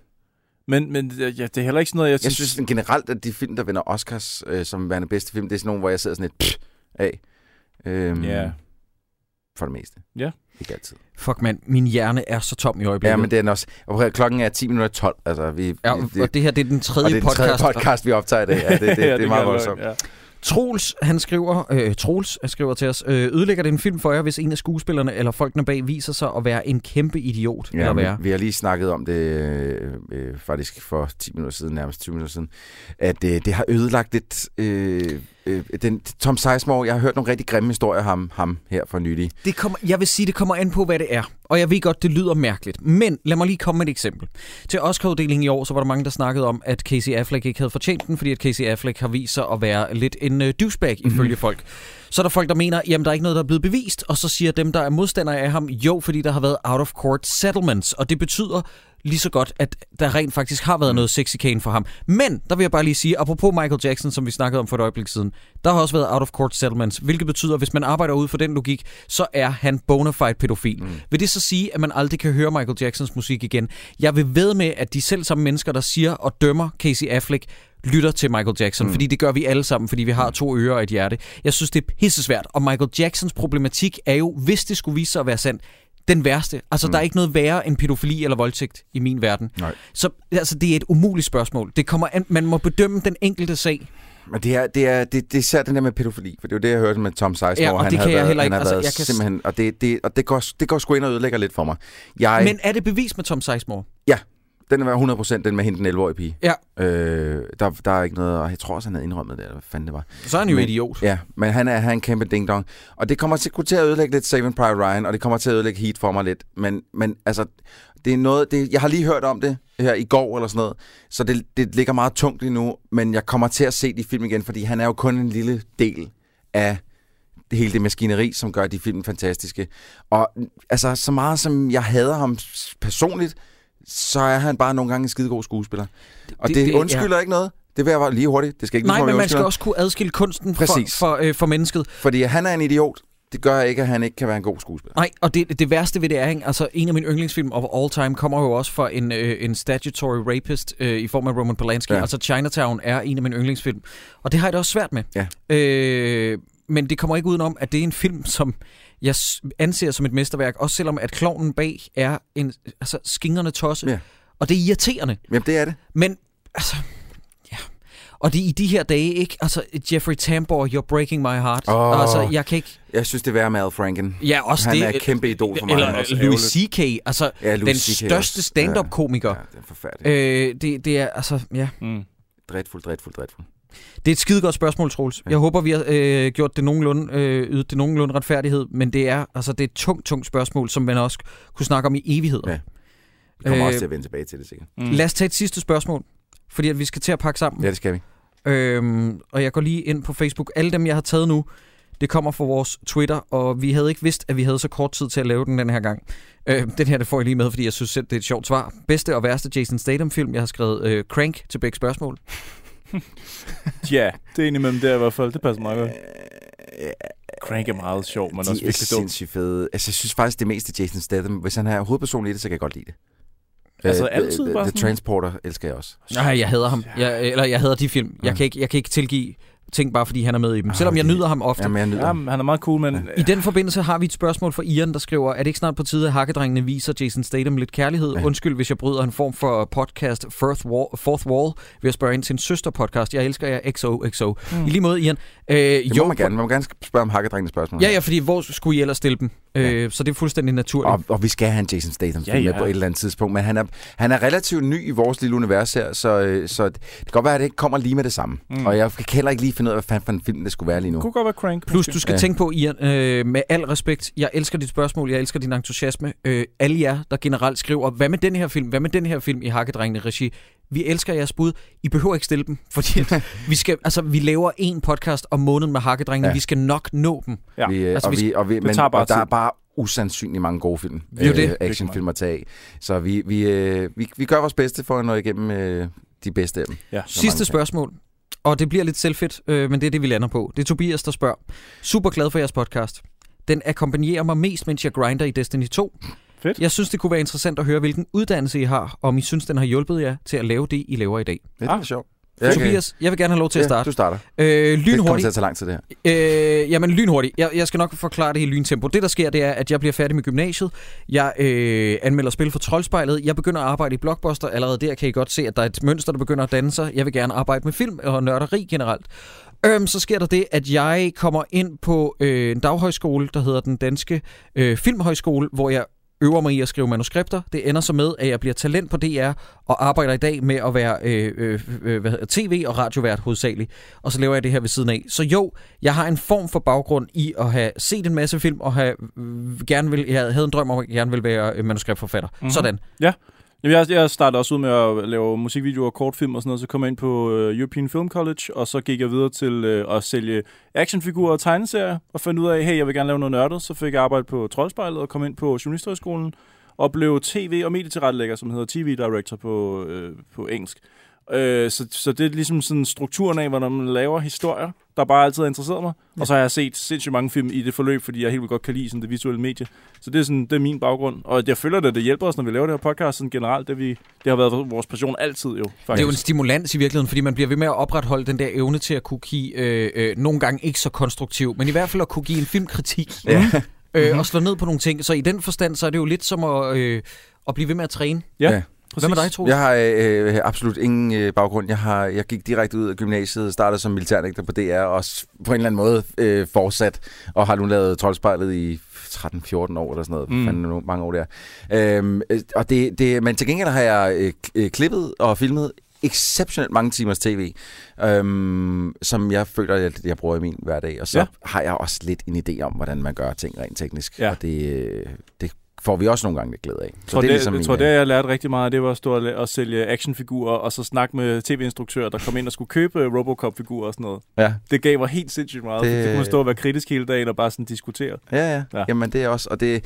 [SPEAKER 5] Men, men øh, ja, det er heller ikke sådan noget, jeg,
[SPEAKER 6] Jeg synes sådan generelt, at de film, der vinder Oscars øh, som værende bedste film, det er sådan nogle, hvor jeg sidder sådan lidt pff, af. Øhm,
[SPEAKER 5] Mm. Ja.
[SPEAKER 6] For det meste.
[SPEAKER 5] Ja.
[SPEAKER 6] Ikke altid.
[SPEAKER 4] Fuck mand, min hjerne er så tom i øjeblikket.
[SPEAKER 6] Ja, men det er den også. Og prøv, at høre, klokken er 10 minutter 12. Altså, vi,
[SPEAKER 4] Ja,
[SPEAKER 6] vi,
[SPEAKER 4] og det her det er den tredje,
[SPEAKER 6] og det er den tredje
[SPEAKER 4] podcast.
[SPEAKER 6] podcast, vi optager i dag.
[SPEAKER 5] [LAUGHS]
[SPEAKER 6] Ja, det, det, det, det er meget
[SPEAKER 5] kan jeg
[SPEAKER 6] voldsomt.
[SPEAKER 5] godt, Ja.
[SPEAKER 4] Troels, han skriver, øh, Troels han skriver til os, øh, ødelægger det en film for jer, hvis en af skuespillerne eller folkene bag viser sig at være en kæmpe idiot? Ja, eller
[SPEAKER 6] Ja,
[SPEAKER 4] være?
[SPEAKER 6] men vi har lige snakket om det øh, øh, faktisk for 10 minutter siden, nærmest 20 minutter siden, at øh, det har ødelagt lidt... Øh, øh, den, Tom Sizemore, jeg har hørt nogle rigtig grimme historier om ham, ham her for nylig.
[SPEAKER 4] Det kommer, jeg vil sige, det kommer an på, hvad det er. Og jeg ved godt, det lyder mærkeligt. Men lad mig lige komme med et eksempel. Til Oscar-uddelingen i år, så var der mange, der snakkede om, at Casey Affleck ikke havde fortjent den, fordi at Casey Affleck har vist sig at være lidt en uh, douchebag, ifølge folk. Så er der folk, der mener, jamen der er ikke noget, der er blevet bevist. Og så siger dem, der er modstandere af ham, jo, fordi der har været out-of-court settlements. Og det betyder lige så godt, at der rent faktisk har været noget sexikane for ham. Men, der vil jeg bare lige sige, apropos Michael Jackson, som vi snakkede om for et øjeblik siden, der har også været out-of-court settlements, hvilket betyder, at hvis man arbejder ud fra den logik, så er han bona fide pædofil. Mm. Vil det så sige, at man aldrig kan høre Michael Jacksons musik igen? Jeg vil ved med, at de selv samme mennesker, der siger og dømmer Casey Affleck, lytter til Michael Jackson, mm. fordi det gør vi alle sammen, fordi vi har to ører og et hjerte. Jeg synes, det er pissesvært, og Michael Jacksons problematik er jo, hvis det skulle vise sig at være sandt, den værste. Altså, mm. der er ikke noget værre end pædofili eller voldtægt i min verden.
[SPEAKER 6] Nej.
[SPEAKER 4] Så altså, det er et umuligt spørgsmål. Det kommer an, man må bedømme den enkelte sag.
[SPEAKER 6] Men det er, det er, det, det er især den der med pædofili, for det er jo det, jeg hørte med Tom Sizemore.
[SPEAKER 4] Ja, og
[SPEAKER 6] han
[SPEAKER 4] det
[SPEAKER 6] havde
[SPEAKER 4] kan jeg
[SPEAKER 6] været,
[SPEAKER 4] heller ikke.
[SPEAKER 6] Han altså,
[SPEAKER 4] Altså,
[SPEAKER 6] været
[SPEAKER 4] jeg kan s-
[SPEAKER 6] simpelthen, og det, det, og det, går, det går sgu ind og ødelægger lidt for mig. Jeg, Men...
[SPEAKER 4] Men er det bevis med Tom Sizemore?
[SPEAKER 6] Den var 100% den med hende, den 11-årige pige.
[SPEAKER 4] Ja.
[SPEAKER 6] Øh, der, der er ikke noget, og jeg tror også, han havde indrømmet det, eller hvad fanden det var.
[SPEAKER 4] Så er han jo
[SPEAKER 6] Men-
[SPEAKER 4] men, idiot.
[SPEAKER 6] Ja, men han er, han er en kæmpe ding-dong. Og det kommer til, kunne til at ødelægge lidt Saving Private Ryan, og det kommer til at ødelægge Heat for mig lidt. Men, men altså, det er noget, det, jeg har lige hørt om det her i går eller sådan noget, så det, det ligger meget tungt lige nu, men jeg kommer til at se de film igen, fordi han er jo kun en lille del af hele det maskineri, som gør de film fantastiske. Og altså, så meget som jeg hader ham s- personligt, så er han bare nogle gange en skidegod skuespiller. Og
[SPEAKER 4] Det-
[SPEAKER 6] det, det,
[SPEAKER 4] det
[SPEAKER 6] det
[SPEAKER 4] er-
[SPEAKER 6] undskylder ikke noget. Det vil jeg bare lige hurtigt. Det skal ikke lyde,
[SPEAKER 4] Nej,
[SPEAKER 6] som om
[SPEAKER 4] men
[SPEAKER 6] jeg
[SPEAKER 4] man skal
[SPEAKER 6] undskylder.
[SPEAKER 4] også kunne adskille kunsten for,
[SPEAKER 6] Præcis.
[SPEAKER 4] for, øh, for mennesket.
[SPEAKER 6] Fordi han er en idiot, Det gør ikke, at han ikke kan være en god skuespiller.
[SPEAKER 4] Nej, og det, det værste ved det er, ikke? altså en af mine yndlingsfilm of all time kommer jo også fra en, øh, en statutory rapist øh, i form af Roman Polanski. Ja.
[SPEAKER 6] Ja.
[SPEAKER 4] Altså Chinatown er en af mine yndlingsfilm, og det har jeg det også svært med.
[SPEAKER 6] Ja.
[SPEAKER 4] Øh, men det kommer ikke udenom, at det er en film, som jeg s- anser som et mesterværk, også selvom at klovnen bag er en altså, skingerne tosse, ja.
[SPEAKER 6] Ja.
[SPEAKER 4] og det er irriterende.
[SPEAKER 6] Jamen, det er det.
[SPEAKER 4] Men, altså, ja. Og det er i de her dage, ikke? Altså, Jeffrey Tambor, You're Breaking My Heart.
[SPEAKER 6] Åh.
[SPEAKER 4] Altså, jeg kan ikke...
[SPEAKER 6] Jeg synes, det er værre med Al Franken.
[SPEAKER 4] Ja, også
[SPEAKER 6] han
[SPEAKER 4] det...
[SPEAKER 6] er et kæmpe idol for mig.
[SPEAKER 4] Eller
[SPEAKER 6] Han er også
[SPEAKER 4] Louis
[SPEAKER 6] ærgerligt.
[SPEAKER 4] C.K., altså
[SPEAKER 6] Ja,
[SPEAKER 4] den
[SPEAKER 6] Louis C.K.
[SPEAKER 4] største
[SPEAKER 6] også.
[SPEAKER 4] stand-up-komiker.
[SPEAKER 6] Ja, ja, det er forfærdeligt. Øh.
[SPEAKER 4] Øh, det, det er altså, ja.
[SPEAKER 5] Mm.
[SPEAKER 6] Dreadful, dreadful, dreadful.
[SPEAKER 4] Det er et skide godt spørgsmål, Troels. Jeg håber, vi har øh, gjort det nogenlunde, øh, ydet det nogenlunde retfærdighed, men det er, altså, det er et tungt, tungt spørgsmål, som man også kunne snakke om i evigheder.
[SPEAKER 6] Ja. Vi kommer
[SPEAKER 4] Øh.
[SPEAKER 6] øh. også til at vende tilbage til det, sikkert.
[SPEAKER 5] Mm.
[SPEAKER 4] Lad os tage et sidste spørgsmål, fordi at vi skal til at pakke sammen.
[SPEAKER 6] Ja, det skal vi.
[SPEAKER 4] Øhm, og jeg går lige ind på Facebook. Alle dem, jeg har taget nu, det kommer fra vores Twitter, og vi havde ikke vidst, at vi havde så kort tid til at lave den den her gang. Øh, den her, det får jeg lige med, fordi jeg synes selv, det er et sjovt svar. Bedste og værste Jason Statham-film, jeg har skrevet øh, Crank til begge spørgsmål.
[SPEAKER 5] Ja, det er en imellem der i hvert fald. Det passer meget godt. Crank er meget sjov, men
[SPEAKER 6] Øh, De
[SPEAKER 5] også
[SPEAKER 6] er
[SPEAKER 5] virkelig dumt.
[SPEAKER 6] sindssygt fede. Altså, jeg synes faktisk, det meste Jason Statham, hvis han er hovedpersonen i det, så kan jeg godt lide det.
[SPEAKER 5] Altså,
[SPEAKER 6] Øh,
[SPEAKER 5] altid
[SPEAKER 6] The-
[SPEAKER 5] bare
[SPEAKER 6] The
[SPEAKER 5] sådan-
[SPEAKER 6] Transporter elsker jeg også.
[SPEAKER 4] Nej, jeg hader ham. Jeg, eller jeg hader de film. Jeg,
[SPEAKER 6] Ja.
[SPEAKER 4] kan ikke, jeg kan ikke tilgive ting, bare fordi han er med i dem.
[SPEAKER 6] Ah,
[SPEAKER 4] Selvom jeg
[SPEAKER 6] det-
[SPEAKER 4] nyder ham ofte.
[SPEAKER 6] Jamen, jeg nyder.
[SPEAKER 5] Ja, han er meget cool, men...
[SPEAKER 4] I den forbindelse har vi et spørgsmål fra Ian, der skriver, er det ikke snart på tide, at hakkedrengene viser Jason Statham lidt kærlighed?
[SPEAKER 6] Ja.
[SPEAKER 4] Undskyld, hvis jeg bryder en form for podcast Fourth Wall, Fourth Wall ved at spørge ind til en søsterpodcast. Jeg elsker jer XOXO. Mm. I lige måde, Ian. Øh,
[SPEAKER 6] Det må man gerne. Man må gerne spørge om hakkedrengende spørgsmål.
[SPEAKER 4] Ja, ja, fordi hvor skulle I ellers stille dem? Øh, Så det er fuldstændig naturligt.
[SPEAKER 6] Og, og vi skal have en Jason Statham
[SPEAKER 5] Ja,
[SPEAKER 6] ja, ja.
[SPEAKER 5] ja.
[SPEAKER 6] med på et eller andet tidspunkt, men han er, han er relativt ny i vores lille univers her, så, øh, så det kan godt være, at det ikke kommer lige med det samme.
[SPEAKER 5] Mm.
[SPEAKER 6] Mm. Og jeg kan heller ikke lige finde ud af, hvad fanden for en film det skulle være lige nu.
[SPEAKER 5] kunne godt være Crank.
[SPEAKER 4] Plus, du skal ja.
[SPEAKER 6] Ja.
[SPEAKER 4] tænke på, Ian, øh, med al respekt, jeg elsker dit spørgsmål, jeg elsker din entusiasme. Øh, alle jer, der generelt skriver, hvad med den her film, hvad med den her film i Hakkedrengene regi? Vi elsker jeres bud. I behøver ikke stille dem, fordi [LAUGHS] at vi, skal, altså, vi laver en podcast om måneden med Hakkedrengene. Ja.
[SPEAKER 6] Ja.
[SPEAKER 4] Vi skal nok nå dem.
[SPEAKER 5] Ja,
[SPEAKER 6] Vi, øh,
[SPEAKER 4] altså,
[SPEAKER 6] altså, og
[SPEAKER 4] vi-
[SPEAKER 6] vi, og vi, men,
[SPEAKER 5] tager bare
[SPEAKER 6] og der
[SPEAKER 5] tid.
[SPEAKER 6] er bare usandsynligt mange gode film,
[SPEAKER 4] Det er jo det.
[SPEAKER 6] Øh, actionfilm at tage af. Så vi, vi, øh, vi, vi gør vores bedste for at nå igennem øh, de bedste af dem.
[SPEAKER 5] Ja.
[SPEAKER 6] Så mange
[SPEAKER 4] Sidste
[SPEAKER 6] tak.
[SPEAKER 4] spørgsmål, og det bliver lidt selvfedt, øh, men det er det, vi lander på. Det er Tobias, der spørger. Super glad for jeres podcast. Den akkompagnerer mig mest, mens jeg grinder i Destiny 2.
[SPEAKER 5] Fedt.
[SPEAKER 4] Jeg synes, det kunne være interessant at høre, hvilken uddannelse I har, og om I synes, den har hjulpet jer til at lave det, I laver i dag.
[SPEAKER 6] Det er
[SPEAKER 5] Ah.
[SPEAKER 6] ah, sjovt.
[SPEAKER 4] Okay. Tobias, jeg vil gerne have lov til at
[SPEAKER 6] Ja,
[SPEAKER 4] starte.
[SPEAKER 6] du starter.
[SPEAKER 4] Øh,
[SPEAKER 6] Det kommer til
[SPEAKER 4] lynhurtigt.
[SPEAKER 6] at tage lang tid, det her.
[SPEAKER 4] Øh, jamen, lynhurtigt. Jeg, jeg skal nok forklare det i lyntempo. Det, der sker, det er, at jeg bliver færdig med gymnasiet. Jeg øh, anmelder spil for Troldspejlet. Jeg begynder at arbejde i Blockbuster. Allerede der kan I godt se, at der er et mønster, der begynder at danne sig. Jeg vil gerne arbejde med film og nørderi generelt. Øhm, så sker der det, at jeg kommer ind på øh, en daghøjskole, der hedder den danske øh, filmhøjskole, hvor jeg øver mig i at skrive manuskripter. Det ender så med, at jeg bliver talent på DR og arbejder i dag med at være øh, øh, øh, hvad hedder, tv- og radiovært hovedsageligt. Og så laver jeg det her ved siden af. Så jo, jeg har en form for baggrund i at have set en masse film og have, øh, gerne vil, jeg havde en drøm om, at jeg gerne vil være øh, manuskriptforfatter. Mm-hmm. Sådan.
[SPEAKER 5] Jamen, jeg, jeg startede også ud med at lave musikvideoer og kortfilm og sådan noget, så kom jeg ind på øh, European Film College, og så gik jeg videre til øh, at sælge actionfigurer og tegneserier, og fandt ud af, hey, jeg vil gerne lave noget nørdet, så fik jeg arbejde på Troldspejlet og kom ind på Journalisterhøjskolen, og blev tv- og medietilrettelægger, som hedder TV Director på, øh, på engelsk. Øh, så, så det er ligesom sådan strukturen af, hvordan man laver historier, der bare altid har interesseret mig. Og så har jeg set sindssygt mange film i det forløb, fordi jeg helt vildt godt kan lide sådan det visuelle medie. Så det er, sådan, det er min baggrund. Og jeg føler, at det hjælper os, når vi laver det her podcast sådan generelt. Det, vi, det har været vores passion altid jo, faktisk.
[SPEAKER 4] Det er jo en stimulans i virkeligheden, fordi man bliver ved med at opretholde den der evne til at kunne give, øh, øh, nogle gange ikke så konstruktiv, men i hvert fald at kunne give en filmkritik ja. øh, og slå ned på nogle ting. Så i den forstand, så er det jo lidt som at, øh, at blive ved med at træne.
[SPEAKER 5] Ja,
[SPEAKER 6] Ja.
[SPEAKER 5] præcis.
[SPEAKER 4] Hvad med dig, Troels?
[SPEAKER 6] Jeg har øh, øh, absolut ingen øh, baggrund. Jeg, har, jeg gik direkte ud af gymnasiet, startede som militærnægter på DR, og s- på en eller anden måde øh, fortsat, og har nu lavet troldspejlet i 13-14 år eller sådan noget.
[SPEAKER 5] Mm.
[SPEAKER 6] Mm. Fanden, nu, mange år der. Øhm, øh, og det, det, men til gengæld har jeg øh, k- øh, klippet og filmet exceptionelt mange timers tv, øhm, som jeg føler, at jeg, jeg bruger i min hverdag. Og så
[SPEAKER 5] Ja.
[SPEAKER 6] ja. har jeg også lidt en idé om, hvordan man gør ting rent teknisk.
[SPEAKER 5] Ja.
[SPEAKER 6] Og det, øh, det får vi også nogle gange lidt glæde af. Så
[SPEAKER 5] Jeg tror, det, ligesom jeg
[SPEAKER 6] min,
[SPEAKER 5] tror,
[SPEAKER 6] øh,
[SPEAKER 5] det jeg lærte rigtig meget, det var at stå og la- og sælge actionfigurer, og så snakke med tv-instruktører, der kom ind og skulle købe øh, Robocop-figurer og sådan noget.
[SPEAKER 6] Ja.
[SPEAKER 5] Det gav mig helt sindssygt meget. Det,
[SPEAKER 6] Det- øh,
[SPEAKER 5] det kunne man stå og være kritisk hele dagen og bare sådan diskutere.
[SPEAKER 6] Ja, ja.
[SPEAKER 5] Ja.
[SPEAKER 6] ja. Jamen, det er også... Og det,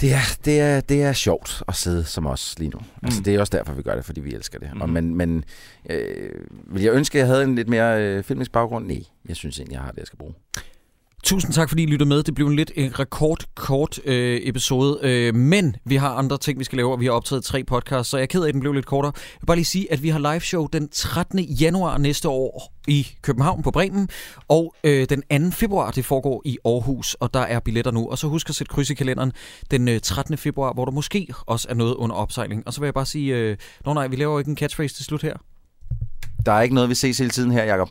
[SPEAKER 6] det er, det, er, det er sjovt at sidde som os lige nu. Altså,
[SPEAKER 5] Mm.
[SPEAKER 6] Det er også derfor, vi gør det, fordi vi elsker det. Mm. Og,
[SPEAKER 5] Mm.
[SPEAKER 6] men men øh, vil jeg ønske, at jeg havde en lidt mere øh, filmisk baggrund? Nej, jeg synes egentlig, jeg har det, jeg skal bruge.
[SPEAKER 4] Tusind tak, fordi I lytter med. Det blev en lidt en rekordkort øh, episode, øh, men vi har andre ting, vi skal lave, og vi har optaget tre podcasts, så jeg er ked af, at den blev lidt kortere. Jeg vil bare lige sige, at vi har live show den 13. januar næste år i København på Bremen, og øh, den 2. februar, det foregår i Aarhus, og der er billetter nu. Og så husk at sætte kryds i kalenderen den øh, 13. februar, hvor der måske også er noget under opsejling. Og så vil jeg bare sige, øh, nå nej, vi laver jo ikke en catchphrase til slut her.
[SPEAKER 6] Der er ikke noget, vi ses hele tiden her, Jacob.